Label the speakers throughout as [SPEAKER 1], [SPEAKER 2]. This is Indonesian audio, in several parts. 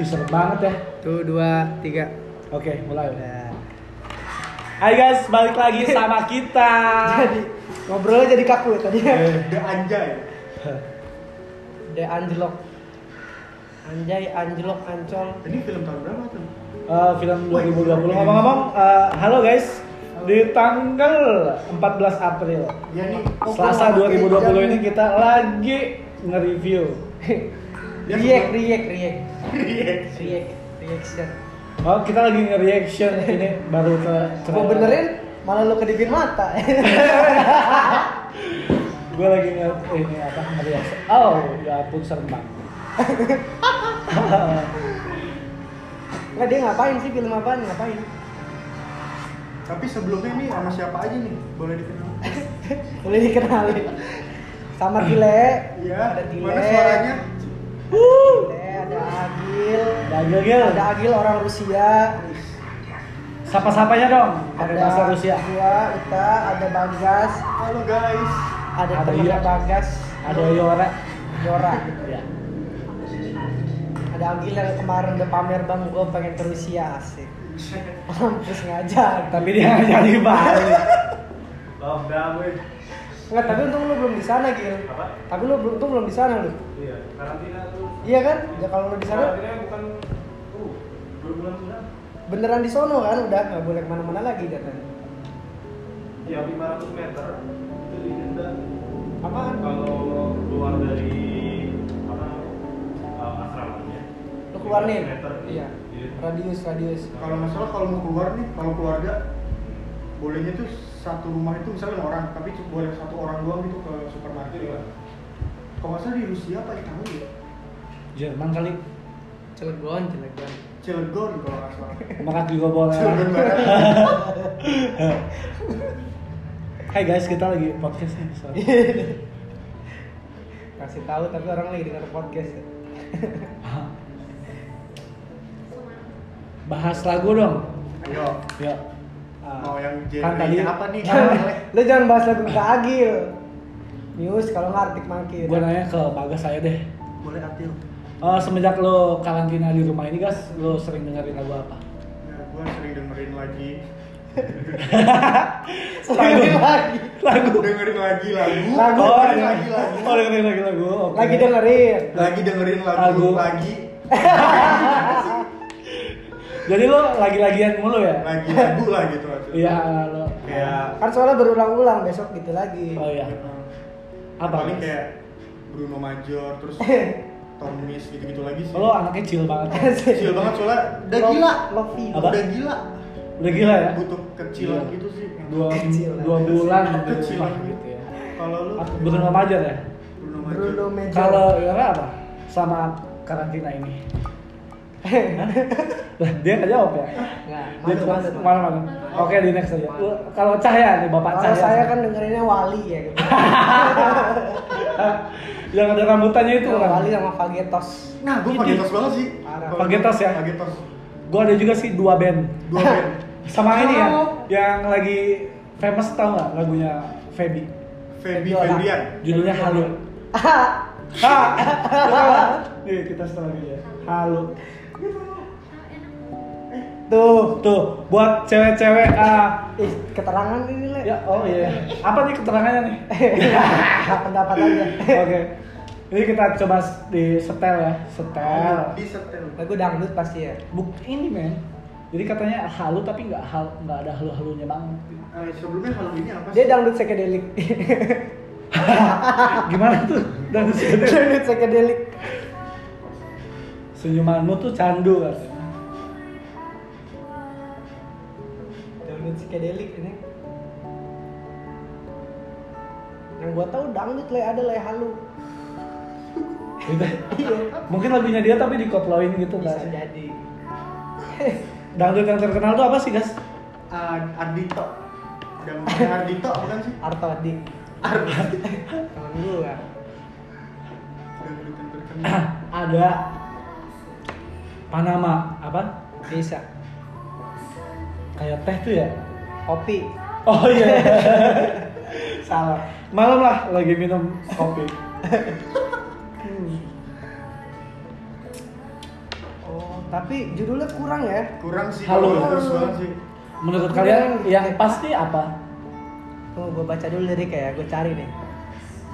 [SPEAKER 1] Ih, serem banget ya.
[SPEAKER 2] Tuh dua tiga.
[SPEAKER 1] Oke, mulai.
[SPEAKER 2] Nah.
[SPEAKER 1] Hai guys, balik lagi sama kita.
[SPEAKER 2] Jadi ngobrolnya jadi kaku ya tadi.
[SPEAKER 3] The ya. anjay.
[SPEAKER 2] De anjlok. Anjay, anjlok, ancol.
[SPEAKER 3] Ini film tahun berapa tuh?
[SPEAKER 1] Eh, film 2020 ngomong-ngomong, eh, halo guys. Di tanggal 14 April,
[SPEAKER 3] Ya nih.
[SPEAKER 1] Selasa 2020 ini kita lagi nge-review.
[SPEAKER 3] Dia
[SPEAKER 2] Riek,
[SPEAKER 3] suka-
[SPEAKER 2] riek, riek. Riek, reaction.
[SPEAKER 1] Oh, kita lagi nge-reaction ini baru ke
[SPEAKER 2] Gua benerin malah lu kedipin mata.
[SPEAKER 1] Gue lagi nge ini apa nge-reaction. Oh, ya ampun serem banget.
[SPEAKER 2] Enggak dia ngapain sih film apaan? Ngapain?
[SPEAKER 3] Tapi sebelumnya nih sama siapa aja nih? Boleh dikenal?
[SPEAKER 2] Boleh dikenalin. Sama Tile.
[SPEAKER 3] Iya.
[SPEAKER 2] Ada Tile.
[SPEAKER 3] Mana suaranya?
[SPEAKER 2] Tile, ada Agil.
[SPEAKER 1] Dagil Gil,
[SPEAKER 2] Ada Agil orang Rusia.
[SPEAKER 1] sapa-sapanya dong. Pakai bahasa Rusia.
[SPEAKER 2] Gua, Uta, ada Bagas,
[SPEAKER 3] Halo guys.
[SPEAKER 2] ada,
[SPEAKER 1] Ada
[SPEAKER 2] temennya
[SPEAKER 1] Ira.
[SPEAKER 2] Bagas,
[SPEAKER 1] Ada Iya. Yora.
[SPEAKER 2] Yora.
[SPEAKER 1] Ya.
[SPEAKER 2] Ada Agil yang kemarin udah pamer bang, gue pengen ke Rusia asik. Mampus ngajak.
[SPEAKER 1] Tapi dia nggak jadi balik.
[SPEAKER 3] Lockdown weh.
[SPEAKER 2] Enggak, tapi untung lu belum di sana Gil.
[SPEAKER 3] Apa?
[SPEAKER 2] Tapi lu belum untung belum di sana lu.
[SPEAKER 3] Iya. Karantina tuh.
[SPEAKER 2] Iya kan? Ya kalau lu di sana
[SPEAKER 3] bukan uh berbulan sudah.
[SPEAKER 2] beneran di sono kan udah nggak boleh kemana-mana lagi katanya.
[SPEAKER 3] Ya 500 meter itu didenda.
[SPEAKER 2] Apaan?
[SPEAKER 3] Kalau keluar dari apa uh, asramanya.
[SPEAKER 4] ya?
[SPEAKER 2] Lu keluar nih.
[SPEAKER 3] 500 meter.
[SPEAKER 2] Iya.
[SPEAKER 3] Iya.
[SPEAKER 2] Radius radius.
[SPEAKER 3] Kalau masalah kalau mau keluar nih, kalau keluarga bolehnya tuh satu rumah itu misalnya lima orang, tapi cuma boleh satu orang doang gitu ke supermarket.
[SPEAKER 1] Iya.
[SPEAKER 3] ya. Kalau nggak salah di Rusia apa Italia ya?
[SPEAKER 1] Jerman Iya, kali.
[SPEAKER 2] Cilegon, Cilegon.
[SPEAKER 3] Cilegon kalau nggak salah.
[SPEAKER 1] Makan juga boleh.
[SPEAKER 3] Cilegon barat.
[SPEAKER 1] Hai guys, kita lagi podcast nih. so.
[SPEAKER 2] Kasih tahu tapi orang lagi denger podcast. Ya.
[SPEAKER 1] Bahas lagu dong.
[SPEAKER 3] Ayo,
[SPEAKER 1] Yuk.
[SPEAKER 3] mau yang
[SPEAKER 1] Kan tadi-
[SPEAKER 3] genre apa nih?
[SPEAKER 2] lu jangan bahas lagu Kak Agil news kalau nggak artik makin
[SPEAKER 1] Gue nanya ke Bagas saya deh.
[SPEAKER 3] Boleh Atil.
[SPEAKER 1] Eh, semenjak lo karantina di rumah ini, guys, lo sering dengerin lagu apa?
[SPEAKER 3] Ya, gue sering dengerin lagi,
[SPEAKER 2] lagi lagi
[SPEAKER 1] Lagu.
[SPEAKER 3] dengerin lagi lagu,
[SPEAKER 2] Lagu.
[SPEAKER 1] dengerin.
[SPEAKER 3] dengerin lagi lagu,
[SPEAKER 1] Oh, dengerin lagi lagu. oke.
[SPEAKER 2] lagi dengerin
[SPEAKER 3] lagi dengerin lagu,
[SPEAKER 1] Lagu.
[SPEAKER 3] lagi,
[SPEAKER 1] Jadi lo lagi-lagian mulu ya?
[SPEAKER 3] lagi lagu lah gitu aja.
[SPEAKER 1] Iya, lo.
[SPEAKER 3] Kayak
[SPEAKER 2] kan soalnya berulang-ulang besok gitu lagi
[SPEAKER 1] Oh iya. Apa?
[SPEAKER 3] Paling kayak Bruno Major, terus Tomis gitu-gitu lagi sih.
[SPEAKER 1] Lo anaknya chill banget.
[SPEAKER 3] kecil banget soalnya udah gila,
[SPEAKER 2] love you
[SPEAKER 1] Apa?
[SPEAKER 3] udah gila.
[SPEAKER 1] Udah gila ya?
[SPEAKER 3] Butuh kecilan
[SPEAKER 1] Gila.
[SPEAKER 3] gitu sih.
[SPEAKER 1] Dua,
[SPEAKER 2] Eh, Kecil.
[SPEAKER 1] dua bulan di
[SPEAKER 3] Kecil.
[SPEAKER 1] rumah gitu ya.
[SPEAKER 3] Kalau lu
[SPEAKER 1] Apa- Bukan remaja ya?
[SPEAKER 3] Bruno Major.
[SPEAKER 2] Bruno Major
[SPEAKER 1] Kalau Yora apa? Sama karantina ini. Hah? Lah, dia nggak jawab ya?
[SPEAKER 2] nggak
[SPEAKER 1] Dia
[SPEAKER 2] masuk
[SPEAKER 1] cuma
[SPEAKER 2] masuk
[SPEAKER 1] mana-mana. Oke, di next aja. Gua- Kalau Cahya nih, Bapak
[SPEAKER 2] kalau
[SPEAKER 1] Cahya.
[SPEAKER 2] saya kan dengerinnya Wali ya gitu.
[SPEAKER 1] Hah? yang ada rambutannya itu kan.
[SPEAKER 2] Wali sama Fagetos
[SPEAKER 3] Nah, gua
[SPEAKER 1] Gitu.
[SPEAKER 3] pagetos banget sih.
[SPEAKER 2] Parah.
[SPEAKER 3] Kalau-
[SPEAKER 1] Pagetos ya?
[SPEAKER 3] Pagetos.
[SPEAKER 1] Gue ada juga sih dua band.
[SPEAKER 3] Dua band.
[SPEAKER 1] Sama ini ya,
[SPEAKER 2] Oh.
[SPEAKER 1] yang lagi famous tau nggak lagunya Feby?
[SPEAKER 2] Feby
[SPEAKER 3] Feby
[SPEAKER 2] Ola.
[SPEAKER 3] Febrian.
[SPEAKER 1] Judulnya Halo. Hah? Nih kita setelah dia. Halo.
[SPEAKER 2] tuh
[SPEAKER 1] Tuh, buat cewek-cewek ah,
[SPEAKER 2] ih keterangan ini le
[SPEAKER 1] Ya, oh iya. Apa nih keterangannya nih?
[SPEAKER 2] Iya. Nggak pendapat aja
[SPEAKER 1] Oke. Ini kita coba s- di setel ya, setel.
[SPEAKER 3] Di setel.
[SPEAKER 2] lagu dangdut pasti ya
[SPEAKER 1] Buk ini men. Jadi katanya halu tapi nggak hal nggak ada halu-halunya banget.
[SPEAKER 3] Eh, sebelumnya kalau ini apa sih?
[SPEAKER 2] dia dangdut psychedelic
[SPEAKER 1] Ah, Gimana tuh? Dan setel.
[SPEAKER 2] dangdut psychedelic
[SPEAKER 1] senyumanmu tuh candu katanya.
[SPEAKER 2] dangdut psychedelic ini yang gua tahu dangdut le ada le halu
[SPEAKER 1] Gitu.
[SPEAKER 2] iya
[SPEAKER 1] Mungkin lagunya dia tapi dikoploin gitu nggak
[SPEAKER 2] bisa
[SPEAKER 1] sih?
[SPEAKER 2] jadi
[SPEAKER 1] Dangdut yang terkenal tuh apa sih, Guys?
[SPEAKER 3] Ad- Ardito. Dan bukan Ardito bukan sih?
[SPEAKER 2] Arto Dik
[SPEAKER 3] Ardito.
[SPEAKER 2] temen gua
[SPEAKER 3] Dan bukan terkenal.
[SPEAKER 1] ada Panama apa?
[SPEAKER 2] bisa
[SPEAKER 1] Kayak teh tuh ya?
[SPEAKER 2] kopi
[SPEAKER 1] Oh iya. Salah. Malam lah lagi minum kopi.
[SPEAKER 2] oh Tapi judulnya kurang ya.
[SPEAKER 3] kurang sih
[SPEAKER 1] Halo.
[SPEAKER 3] kalau terus banget sih
[SPEAKER 1] Menurut kalian yang pasti apa?
[SPEAKER 2] Tunggu gue baca dulu liriknya ya, gue cari nih.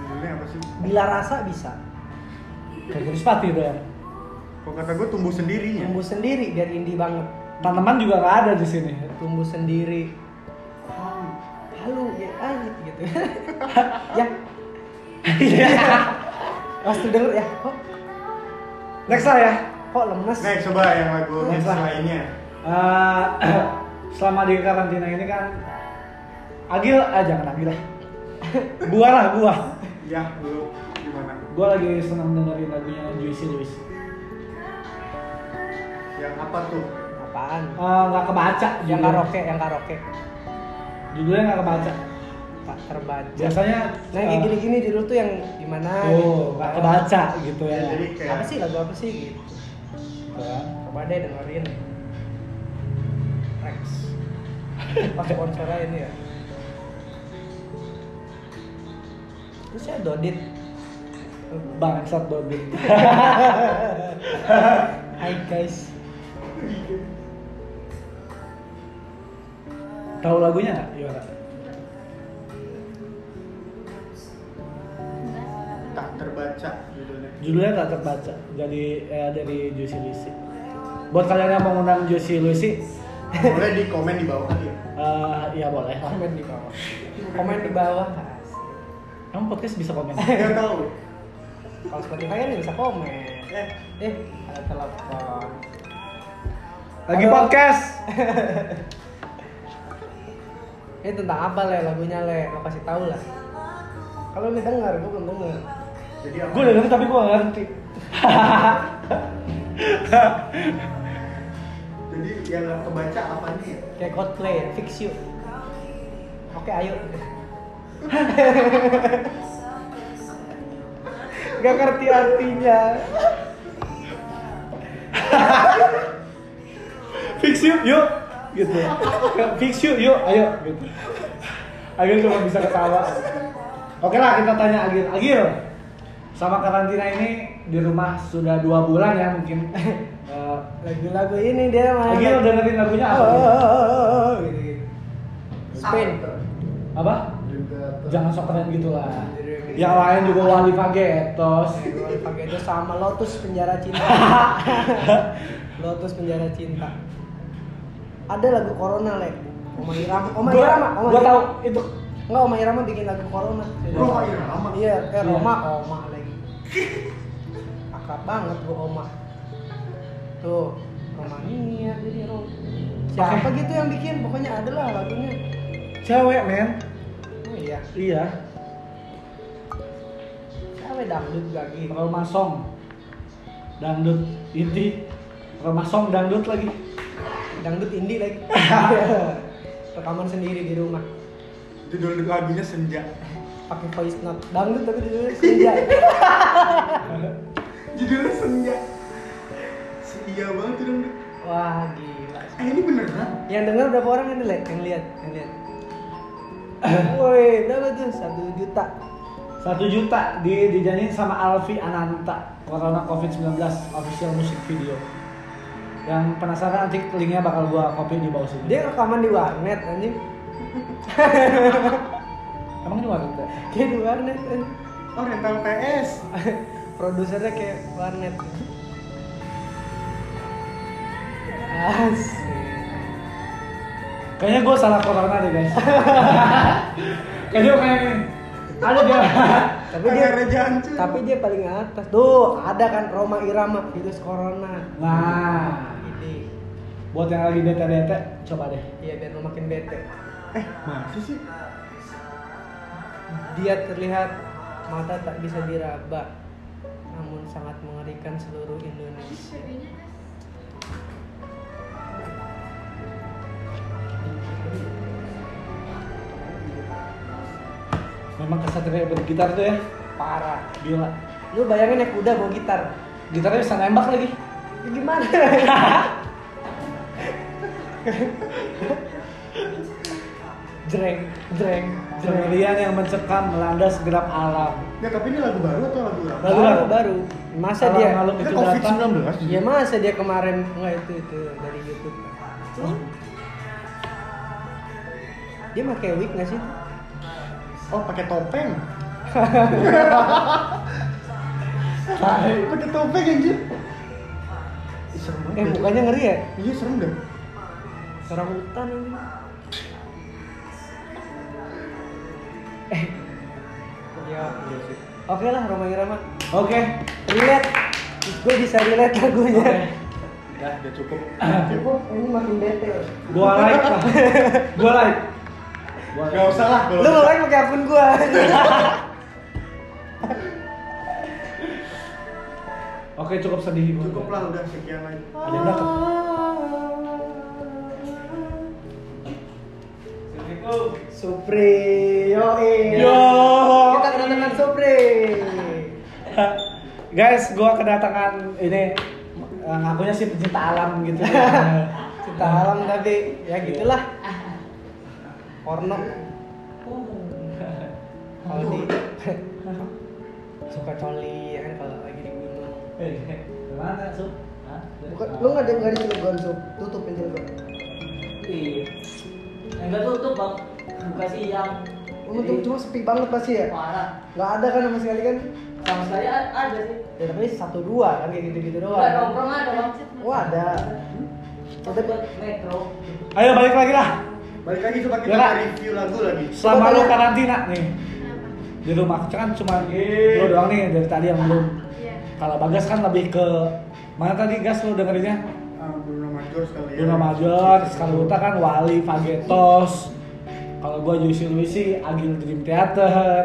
[SPEAKER 3] judulnya apa sih
[SPEAKER 2] Bila rasa bisa.
[SPEAKER 1] Kayak Garis Pati itu ya.
[SPEAKER 3] kok kata gue tumbuh sendirinya
[SPEAKER 2] Tumbuh sendiri biar indie banget.
[SPEAKER 1] Tanaman juga nggak ada di sini.
[SPEAKER 2] Tumbuh sendiri. Halo, ya anjing gitu. ya. Iya. Pas tuh denger ya, kok
[SPEAKER 1] Next lah ya.
[SPEAKER 2] kok lemes.
[SPEAKER 3] next coba yang lagu
[SPEAKER 1] Next
[SPEAKER 3] hits
[SPEAKER 1] lah.
[SPEAKER 3] lainnya
[SPEAKER 1] Eh, selama di karantina ini kan Agil, ah jangan Agil lah. gua lah gua.
[SPEAKER 3] ya lu gimana
[SPEAKER 1] Gua lagi senang dengerin lagunya Juicy Luis.
[SPEAKER 3] yang apa tuh
[SPEAKER 2] Apaan?
[SPEAKER 1] Eh, Nggak kebaca.
[SPEAKER 2] Yang
[SPEAKER 1] judulnya.
[SPEAKER 2] karaoke, yang karaoke.
[SPEAKER 1] Judulnya nggak kebaca.
[SPEAKER 2] Tak terbaca.
[SPEAKER 1] Biasanya.
[SPEAKER 2] Nah, yang kayak
[SPEAKER 1] eh,
[SPEAKER 2] gini-gini judul tuh yang gimana
[SPEAKER 1] Oh,
[SPEAKER 2] gitu.
[SPEAKER 1] nggak kebaca gitu ya.
[SPEAKER 3] ya jadi kayak
[SPEAKER 2] Iya. Apa sih lagu apa sih gitu.
[SPEAKER 1] Gitu ya.
[SPEAKER 2] Coba deh dengerin. Rex. Pas sponsornya ini ya. Terus ya Dodit.
[SPEAKER 1] Bangsat Bobby.
[SPEAKER 2] Hai guys.
[SPEAKER 1] Tahu lagunya nggak? Iya, Yora?
[SPEAKER 3] tak terbaca judulnya
[SPEAKER 1] Judulnya tak terbaca. Jadi eh, dari Juicy Lucy. Buat kalian yang mau ngundang Juicy Lucy,
[SPEAKER 3] boleh di komen di bawah kali ya
[SPEAKER 1] eh, ya boleh. lah.
[SPEAKER 2] Komen di bawah. Komen di bawah.
[SPEAKER 1] Emang podcast bisa komen?
[SPEAKER 3] nggak tahu
[SPEAKER 2] Kalau Spotify kan bisa komen.
[SPEAKER 3] eh
[SPEAKER 2] Eh, ada telepon.
[SPEAKER 1] Lagi
[SPEAKER 2] Halo.
[SPEAKER 1] podcast.
[SPEAKER 2] Ini tentang apa le lagunya le? Lo kasih tahu lah. Kalau lu denger, gue belum denger.
[SPEAKER 3] jadi apa
[SPEAKER 1] Gue dengerin tapi gue gak ngerti.
[SPEAKER 3] jadi yang nggak kebaca apa nih ya
[SPEAKER 2] Kayak Coldplay, ya, fix you. Oke, ayo. Gak ngerti artinya.
[SPEAKER 1] Fix you, yuk. Gitu. Fix you, yuk. Ayo. Gitu. Agil cuma bisa ketawa. Oke lah kita tanya Agil. Agil, sama karantina ini di rumah sudah dua bulan ya mungkin. Eh,
[SPEAKER 2] Lagu-lagu ini dia main.
[SPEAKER 1] Agil dengerin lagunya
[SPEAKER 2] Oh,
[SPEAKER 1] apa?
[SPEAKER 2] oh, oh, oh, oh, gitu, gitu. Spin.
[SPEAKER 1] Apa?
[SPEAKER 3] juga
[SPEAKER 1] Jangan sok keren gitu lah. Yang lain juga wali pakai etos.
[SPEAKER 2] Ya, Pakai itu sama Lotus penjara cinta. Lotus penjara cinta. Ada lagu Corona le. Oma Irama, Oma
[SPEAKER 1] Gua-
[SPEAKER 2] Irama, Oma
[SPEAKER 1] gua
[SPEAKER 2] Irama.
[SPEAKER 1] tahu itu
[SPEAKER 2] Enggak, Oma Irama bikin lagu Corona.
[SPEAKER 3] Roma Irama
[SPEAKER 2] Iya, kayak
[SPEAKER 1] Iya.
[SPEAKER 2] Roma, Oma lagi. Akrab banget gua Oma. Tuh, Romania jadi Roma. Siapa gitu yang bikin? Pokoknya ada lah lagunya.
[SPEAKER 1] cewek men.
[SPEAKER 2] Oh iya,
[SPEAKER 1] Iya.
[SPEAKER 2] siapa dangdut gitu? lagi?
[SPEAKER 1] Rumah song. Dangdut inti. Rumah song dangdut lagi.
[SPEAKER 2] Dangdut indie lagi. Rekaman sendiri di rumah.
[SPEAKER 3] judul lagunya senja
[SPEAKER 2] Pakai voice note. Dangdut tapi judulnya senja.
[SPEAKER 3] judulnya senja senja banget tuh dong
[SPEAKER 2] Wah, gila.
[SPEAKER 3] eh ini beneran
[SPEAKER 2] Yang dengar berapa orang ini, Lek? Yang lihat, yang lihat. Woi, berapa tuh? Satu juta.
[SPEAKER 1] Satu juta di dijanjiin sama Alfi Ananta Corona COVID-19 official music video yang penasaran nanti linknya bakal gua copy di bawah sini
[SPEAKER 2] Dia rekaman di warnet anjing.
[SPEAKER 1] emang di warnet ya?
[SPEAKER 2] Kayak di warnet anjing.
[SPEAKER 3] oh rental PS
[SPEAKER 2] Produsernya kayak warnet. Asik.
[SPEAKER 1] kayaknya gua salah corona deh guys kayaknya gua kayak gini ada dia
[SPEAKER 2] Tapi
[SPEAKER 3] tapi
[SPEAKER 2] dia
[SPEAKER 3] dia hancur
[SPEAKER 2] tapi dia paling atas. Tuh, ada kan Roma Irama virus corona.
[SPEAKER 1] nah
[SPEAKER 2] Ini.
[SPEAKER 1] buat yang lagi bete-bete coba deh
[SPEAKER 2] Iya biar lo makin bete.
[SPEAKER 3] eh masih sih
[SPEAKER 2] Dia terlihat mata tak bisa diraba, namun sangat mengerikan seluruh Indonesia.
[SPEAKER 1] memang kesatria bergitar tuh ya
[SPEAKER 2] Parah.
[SPEAKER 1] gila
[SPEAKER 2] Lu bayangin naik kuda bawa gitar.
[SPEAKER 1] gitarnya bisa nembak lagi
[SPEAKER 2] Ya gimana? jreng jreng jreng
[SPEAKER 1] Pemilihan yang mencekam melanda segenap alam.
[SPEAKER 3] Ya tapi ini lagu baru atau lagu lama?
[SPEAKER 1] Baru,
[SPEAKER 2] baru
[SPEAKER 1] baru.
[SPEAKER 2] baru masa
[SPEAKER 1] Alam
[SPEAKER 2] dia
[SPEAKER 1] malam
[SPEAKER 3] Ini
[SPEAKER 1] itu
[SPEAKER 3] COVID
[SPEAKER 1] datang.
[SPEAKER 3] 19
[SPEAKER 2] ya masa dia kemarin nggak itu itu dari YouTube dia pakai wig nggak sih
[SPEAKER 3] Oh pakai topeng.
[SPEAKER 1] Tai.
[SPEAKER 3] pakai topeng anjir. Ih, Serem banget.
[SPEAKER 2] eh
[SPEAKER 3] ya.
[SPEAKER 2] mukanya ngeri ya
[SPEAKER 3] Iya serem deh.
[SPEAKER 2] orang hutan ini eh ya oke lah Roma Irama
[SPEAKER 1] Oke.
[SPEAKER 2] relate gue bisa relate lagunya
[SPEAKER 1] Oke.
[SPEAKER 3] Ya, udah cukup.
[SPEAKER 2] Cukup, ini makin bete
[SPEAKER 1] Gua like. lah. Gua like. Gua
[SPEAKER 3] Gak usah lah
[SPEAKER 1] Ah,
[SPEAKER 3] kalau
[SPEAKER 2] lu like pakai akun gua
[SPEAKER 1] Oke, cukup sedih gua.
[SPEAKER 3] Cukup lah udah sekian lagi.
[SPEAKER 1] Ada yang datang.
[SPEAKER 2] Supri yoi
[SPEAKER 1] Yo.
[SPEAKER 2] kita kedatangan Supri
[SPEAKER 1] Guys, gua kedatangan ini eh, ngakunya sih pecinta alam gitu.
[SPEAKER 2] kita alam tapi ya gitulah porno Aldi suka coli ya kan kalau lagi di gunung
[SPEAKER 1] Eh, Gimana, Sup? Hah?
[SPEAKER 2] Bukan, lu nggak ada nggak ada celugan sup tutupin celugan
[SPEAKER 5] Iya. Enggak tutup, Bang. Buka iya. siang.
[SPEAKER 2] lu tuh cuma sepi banget pasti ya
[SPEAKER 5] parah.
[SPEAKER 2] nggak ada kan sama sekali kan
[SPEAKER 5] Sama sekali a- ada sih.
[SPEAKER 2] ya tapi satu dua kan kayak gitu gitu
[SPEAKER 5] Enggak
[SPEAKER 2] doang
[SPEAKER 5] nongkrong ada, Bang.
[SPEAKER 2] oh ada
[SPEAKER 5] Kita buat metro.
[SPEAKER 1] Ayo balik lagi lah.
[SPEAKER 3] Balik lagi coba
[SPEAKER 2] Ya,
[SPEAKER 3] kita
[SPEAKER 1] Yalah.
[SPEAKER 3] review lagu lagi.
[SPEAKER 1] Selama
[SPEAKER 2] Gua
[SPEAKER 1] lu
[SPEAKER 2] tanya-
[SPEAKER 1] karantina nih. Di rumah kan cuma
[SPEAKER 3] Iya.
[SPEAKER 1] lu doang nih dari tadi yang belum.
[SPEAKER 6] Iya.
[SPEAKER 1] Kalau Bagas kan lebih ke mana tadi Gas lu dengerinnya?
[SPEAKER 3] Ah, Bruno Major sekali ya.
[SPEAKER 1] Bruno Major, Skarbuta kan Wali, Fagetos. Kalau gua Yusi Luisi, Agil Dream Theater.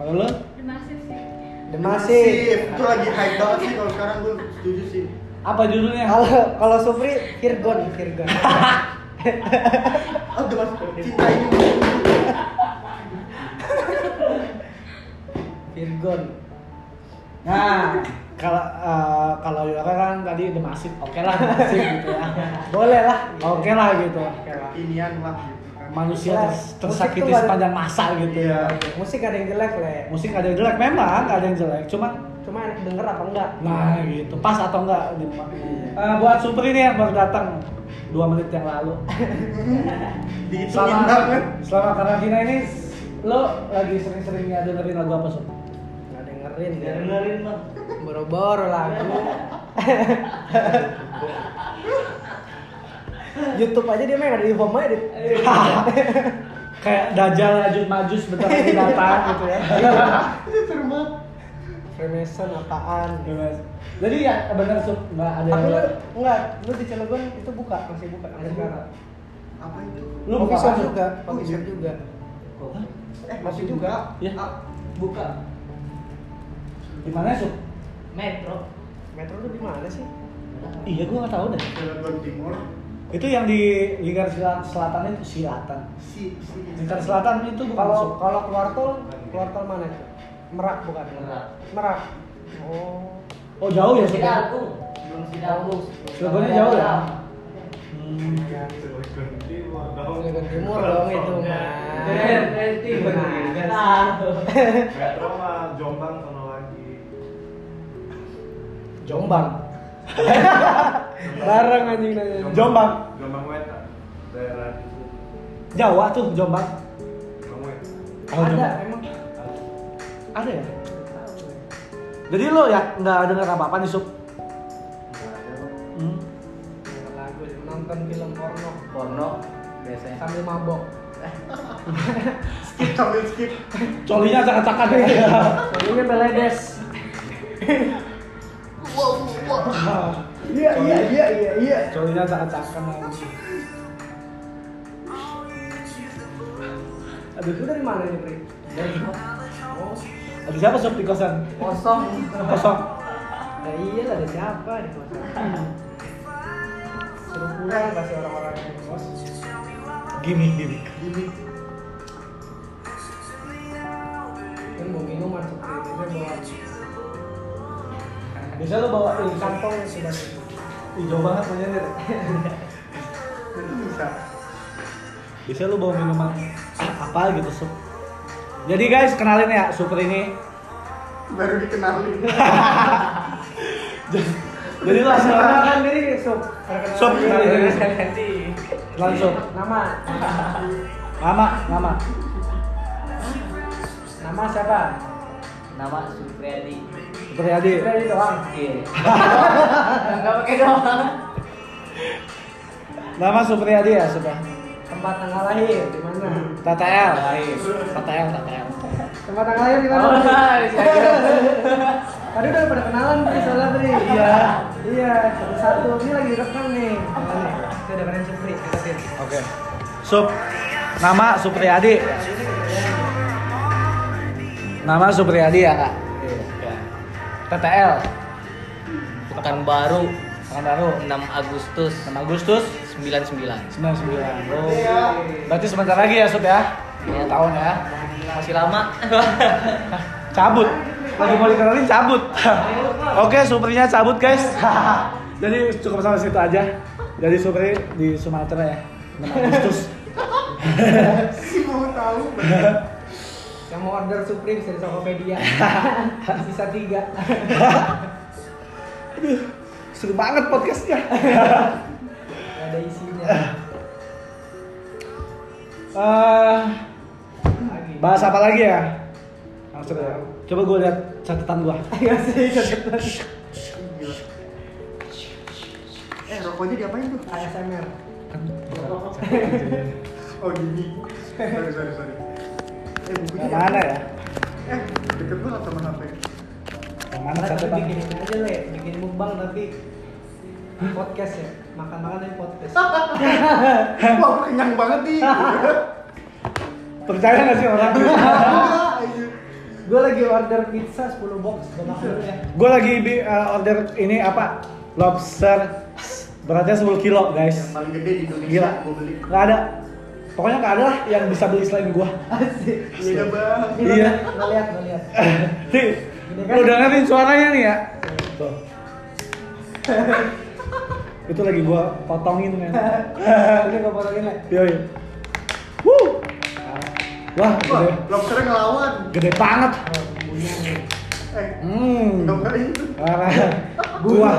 [SPEAKER 1] Kalau lu?
[SPEAKER 6] Masif sih.
[SPEAKER 2] demasi
[SPEAKER 3] Itu lagi hype banget sih kalau sekarang gue setuju sih.
[SPEAKER 1] Apa judulnya?
[SPEAKER 2] kalau kalau Supri Kirgon Kirgon
[SPEAKER 3] Oh, udah masuk cinta ini.
[SPEAKER 2] Kirgon
[SPEAKER 1] Nah, kalau eh, kalau Yura kan tadi The Massive, oke lah The Massive gitu ya.
[SPEAKER 2] boleh lah
[SPEAKER 1] Oke lah gitu. Oke lah.
[SPEAKER 3] Kekinian lah gitu kan.
[SPEAKER 1] Manusia
[SPEAKER 2] Lah,
[SPEAKER 1] ters-
[SPEAKER 2] musik
[SPEAKER 1] tersakiti
[SPEAKER 2] tuh ada-
[SPEAKER 1] sepanjang masa gitu
[SPEAKER 3] Iya.
[SPEAKER 1] ya.
[SPEAKER 2] musik ada yang jelek le
[SPEAKER 1] Musik ada yang jelek memang, ada yang jelek. Cuman
[SPEAKER 2] cuma enak denger apa enggak
[SPEAKER 1] Nah gitu, pas atau enggak di Eh, buat Supri nih yang baru datang dua menit yang lalu.
[SPEAKER 3] Dihitungin
[SPEAKER 1] Selama,
[SPEAKER 3] banget.
[SPEAKER 1] selama karantina ini lo lagi sering-seringnya dengerin lagu apa Sup?
[SPEAKER 2] nggak dengerin ya
[SPEAKER 5] Dengerin, Bang.
[SPEAKER 2] boro-boro lagu YouTube aja dia main ada di home aja deh.
[SPEAKER 1] Kayak Dajjal lanjut majus bentar lagi datang gitu ya.
[SPEAKER 3] Itu seru banget.
[SPEAKER 2] Freemason apaan?
[SPEAKER 1] Bebas. Jadi ya bener Sup, nggak ada
[SPEAKER 2] Tapi
[SPEAKER 1] yang
[SPEAKER 2] lu
[SPEAKER 1] lo,
[SPEAKER 2] enggak, lu di Cilegon itu buka, masih buka sampai sekarang.
[SPEAKER 3] Apa itu?
[SPEAKER 1] Lu
[SPEAKER 2] Coffee
[SPEAKER 1] buka
[SPEAKER 2] shop
[SPEAKER 1] apa?
[SPEAKER 2] juga,
[SPEAKER 3] Oh,
[SPEAKER 2] coffee shop
[SPEAKER 3] iya.
[SPEAKER 2] juga.
[SPEAKER 3] Eh, masih juga.
[SPEAKER 1] Ya.
[SPEAKER 3] Ah,
[SPEAKER 5] Buka
[SPEAKER 1] di mana Sup?
[SPEAKER 5] metro.
[SPEAKER 2] Metro tuh di mana sih?
[SPEAKER 1] Iya gua nggak tahu deh.
[SPEAKER 3] Cilegon Timur.
[SPEAKER 1] Itu yang di lingkar Sela- selatan itu silatan.
[SPEAKER 3] Si si.
[SPEAKER 1] Lingkar selatan itu bukan Sup.
[SPEAKER 2] Kalau kalau keluar tol, keluar tol mana itu? Merak bukan?
[SPEAKER 5] Merak.
[SPEAKER 2] Merak. Oh.
[SPEAKER 1] Oh jauh ya Sup? ya?
[SPEAKER 5] Sidagung. Belum Sidagung.
[SPEAKER 1] Cilegonnya jauh ya?
[SPEAKER 5] Dalam.
[SPEAKER 1] Hmm.
[SPEAKER 3] Cilegon Timur.
[SPEAKER 2] Cilegon Timur dong itu mah.
[SPEAKER 5] Keren, keren, tim.
[SPEAKER 2] Nah,
[SPEAKER 5] Nah.
[SPEAKER 4] Metro mah Jombang sono lagi.
[SPEAKER 2] Jombang. Bareng anjing nanya.
[SPEAKER 1] Jombang.
[SPEAKER 4] Jombang Weta. Daerah di situ.
[SPEAKER 1] Jawa tuh Jombang.
[SPEAKER 4] Jombang Weta.
[SPEAKER 2] Ada emang.
[SPEAKER 1] Ada ya? Jadi lo ya nggak dengar apa-apa nih Sup?
[SPEAKER 4] Nggak ada, Bang.
[SPEAKER 1] Hmm.
[SPEAKER 2] Dengar lagu, nonton film porno
[SPEAKER 5] Porno biasanya.
[SPEAKER 2] sambil mabok.
[SPEAKER 3] Skip sambil skip.
[SPEAKER 1] Colinya acak-acakan ya.
[SPEAKER 2] Soalnya meledes.
[SPEAKER 3] Iya iya iya iya iya.
[SPEAKER 1] Colinya acak-acakan lagi.
[SPEAKER 2] Aduh, itu dari mana ini, Pri? Dari Oh,
[SPEAKER 1] Ada siapa Sup di kosan?
[SPEAKER 2] kosong.
[SPEAKER 1] Kosong.
[SPEAKER 2] Nah, iya lah, ada siapa di kosong? Suruh pulang pasti orang-orang yang di kos.
[SPEAKER 1] Gimik gimik.
[SPEAKER 3] Gimik.
[SPEAKER 2] Kan mau minum masuk ke ini bawa
[SPEAKER 1] Biasa lo bawa ini kan
[SPEAKER 2] kantong yang sudah
[SPEAKER 3] kan
[SPEAKER 1] hijau banget punya deh.
[SPEAKER 3] Itu bisa.
[SPEAKER 1] biasanya lu bawa minuman apa gitu sup jadi guys kenalin ya super ini
[SPEAKER 3] baru dikenalin
[SPEAKER 1] jadi lu asal
[SPEAKER 2] Perkenalkan diri, Sob.
[SPEAKER 1] sup kenalin langsung
[SPEAKER 2] Nama,
[SPEAKER 1] nama nama
[SPEAKER 2] nama siapa?
[SPEAKER 5] Nama Supriyadi.
[SPEAKER 1] Supriyadi
[SPEAKER 2] Supriyadi doang.
[SPEAKER 5] Iya. Enggak pakai doang.
[SPEAKER 1] nama Supriyadi ya sudah
[SPEAKER 2] Tempat tanggal lahir di mana?
[SPEAKER 5] Hmm.
[SPEAKER 1] TTL TTL TTL
[SPEAKER 2] Tempat tanggal lahir di mana?
[SPEAKER 5] Oh,
[SPEAKER 2] Bri?
[SPEAKER 5] iya.
[SPEAKER 2] Tadi udah pada kenalan Bri, soalnya Bri.
[SPEAKER 1] Iya.
[SPEAKER 2] Iya, satu-satu. Ini lagi rekam nih. Kita udah keren Supri, deketin.
[SPEAKER 1] oke sup nama Supriyadi nama Supriyadi ya kak TTL
[SPEAKER 6] Baru
[SPEAKER 1] Pekanbaru
[SPEAKER 6] 6 Agustus
[SPEAKER 1] 6 Agustus
[SPEAKER 6] 99.
[SPEAKER 1] 99 oh. berarti sebentar lagi ya Sup ya dua tahun ya
[SPEAKER 6] Masih lama.
[SPEAKER 1] cabut lagi mau dikenalin cabut oke Suprinya cabut guys jadi cukup sampai situ aja jadi Supri di Sumatera ya 6 Agustus
[SPEAKER 3] sih mau tahu Iya.
[SPEAKER 2] Yang mau order Supri bisa di Tokopedia. Sisa tiga.
[SPEAKER 1] seru banget podcastnya
[SPEAKER 2] Gak ada isinya.
[SPEAKER 1] Eh,
[SPEAKER 2] Lagi.
[SPEAKER 1] bahas apa lagi ya langsung ya coba gue lihat catatan gua
[SPEAKER 2] Ayo Iya sih, deketan.
[SPEAKER 3] Gila. eh rokoknya diapain tuh
[SPEAKER 2] ASMR.
[SPEAKER 3] oh gini sorry sorry sorry eh bukunya
[SPEAKER 1] yang mana
[SPEAKER 3] diapain?
[SPEAKER 1] ya
[SPEAKER 3] eh deket gue lah sama HP
[SPEAKER 1] yang mana
[SPEAKER 2] Karena kita
[SPEAKER 1] catatan
[SPEAKER 2] bikin ini aja le, bikin mukbang tapi podcast ya, makan-makan tapi podcast.
[SPEAKER 3] wah gua kenyang banget nih
[SPEAKER 1] percaya nggak sih orang
[SPEAKER 2] Gue lagi order pizza 10 box, gue makan dulu ya.
[SPEAKER 1] gue lagi bi- eh, order ini apa lobster beratnya 10 kilo guys
[SPEAKER 3] yang paling gede di Indonesia
[SPEAKER 1] Gila,
[SPEAKER 3] gue beli
[SPEAKER 1] nggak ada. Pokoknya nggak ada lah yang bisa beli selain gua.
[SPEAKER 2] Asik.
[SPEAKER 3] iya bang
[SPEAKER 1] Iya.
[SPEAKER 2] Lo lihat, lo lihat.
[SPEAKER 1] Nih, lu dengerin suaranya nih ya. Tuh. Itu lagi gua potongin men.
[SPEAKER 2] Ini gue potongin le.
[SPEAKER 1] Yoi. Wuh. Wah,
[SPEAKER 3] wah
[SPEAKER 1] gede,
[SPEAKER 3] lobsternya ngelawan
[SPEAKER 1] gede banget.
[SPEAKER 2] Oh, bunyinya nih.
[SPEAKER 3] eh
[SPEAKER 1] Hmm.
[SPEAKER 3] dokter itu
[SPEAKER 1] Parah. Gua.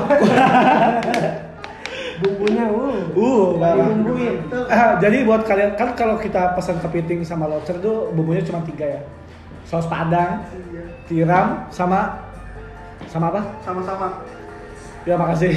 [SPEAKER 2] Bumbunya, uh.
[SPEAKER 1] Uh,
[SPEAKER 2] Gak
[SPEAKER 1] parah.
[SPEAKER 2] dibumbuin.
[SPEAKER 1] Eh, jadi buat kalian kan kalau kita pesan kepiting sama lobster tuh bumbunya cuma tiga ya. Saus padang,
[SPEAKER 3] Iya.
[SPEAKER 1] tiram sama sama apa?
[SPEAKER 3] sama-sama
[SPEAKER 1] Ya makasih.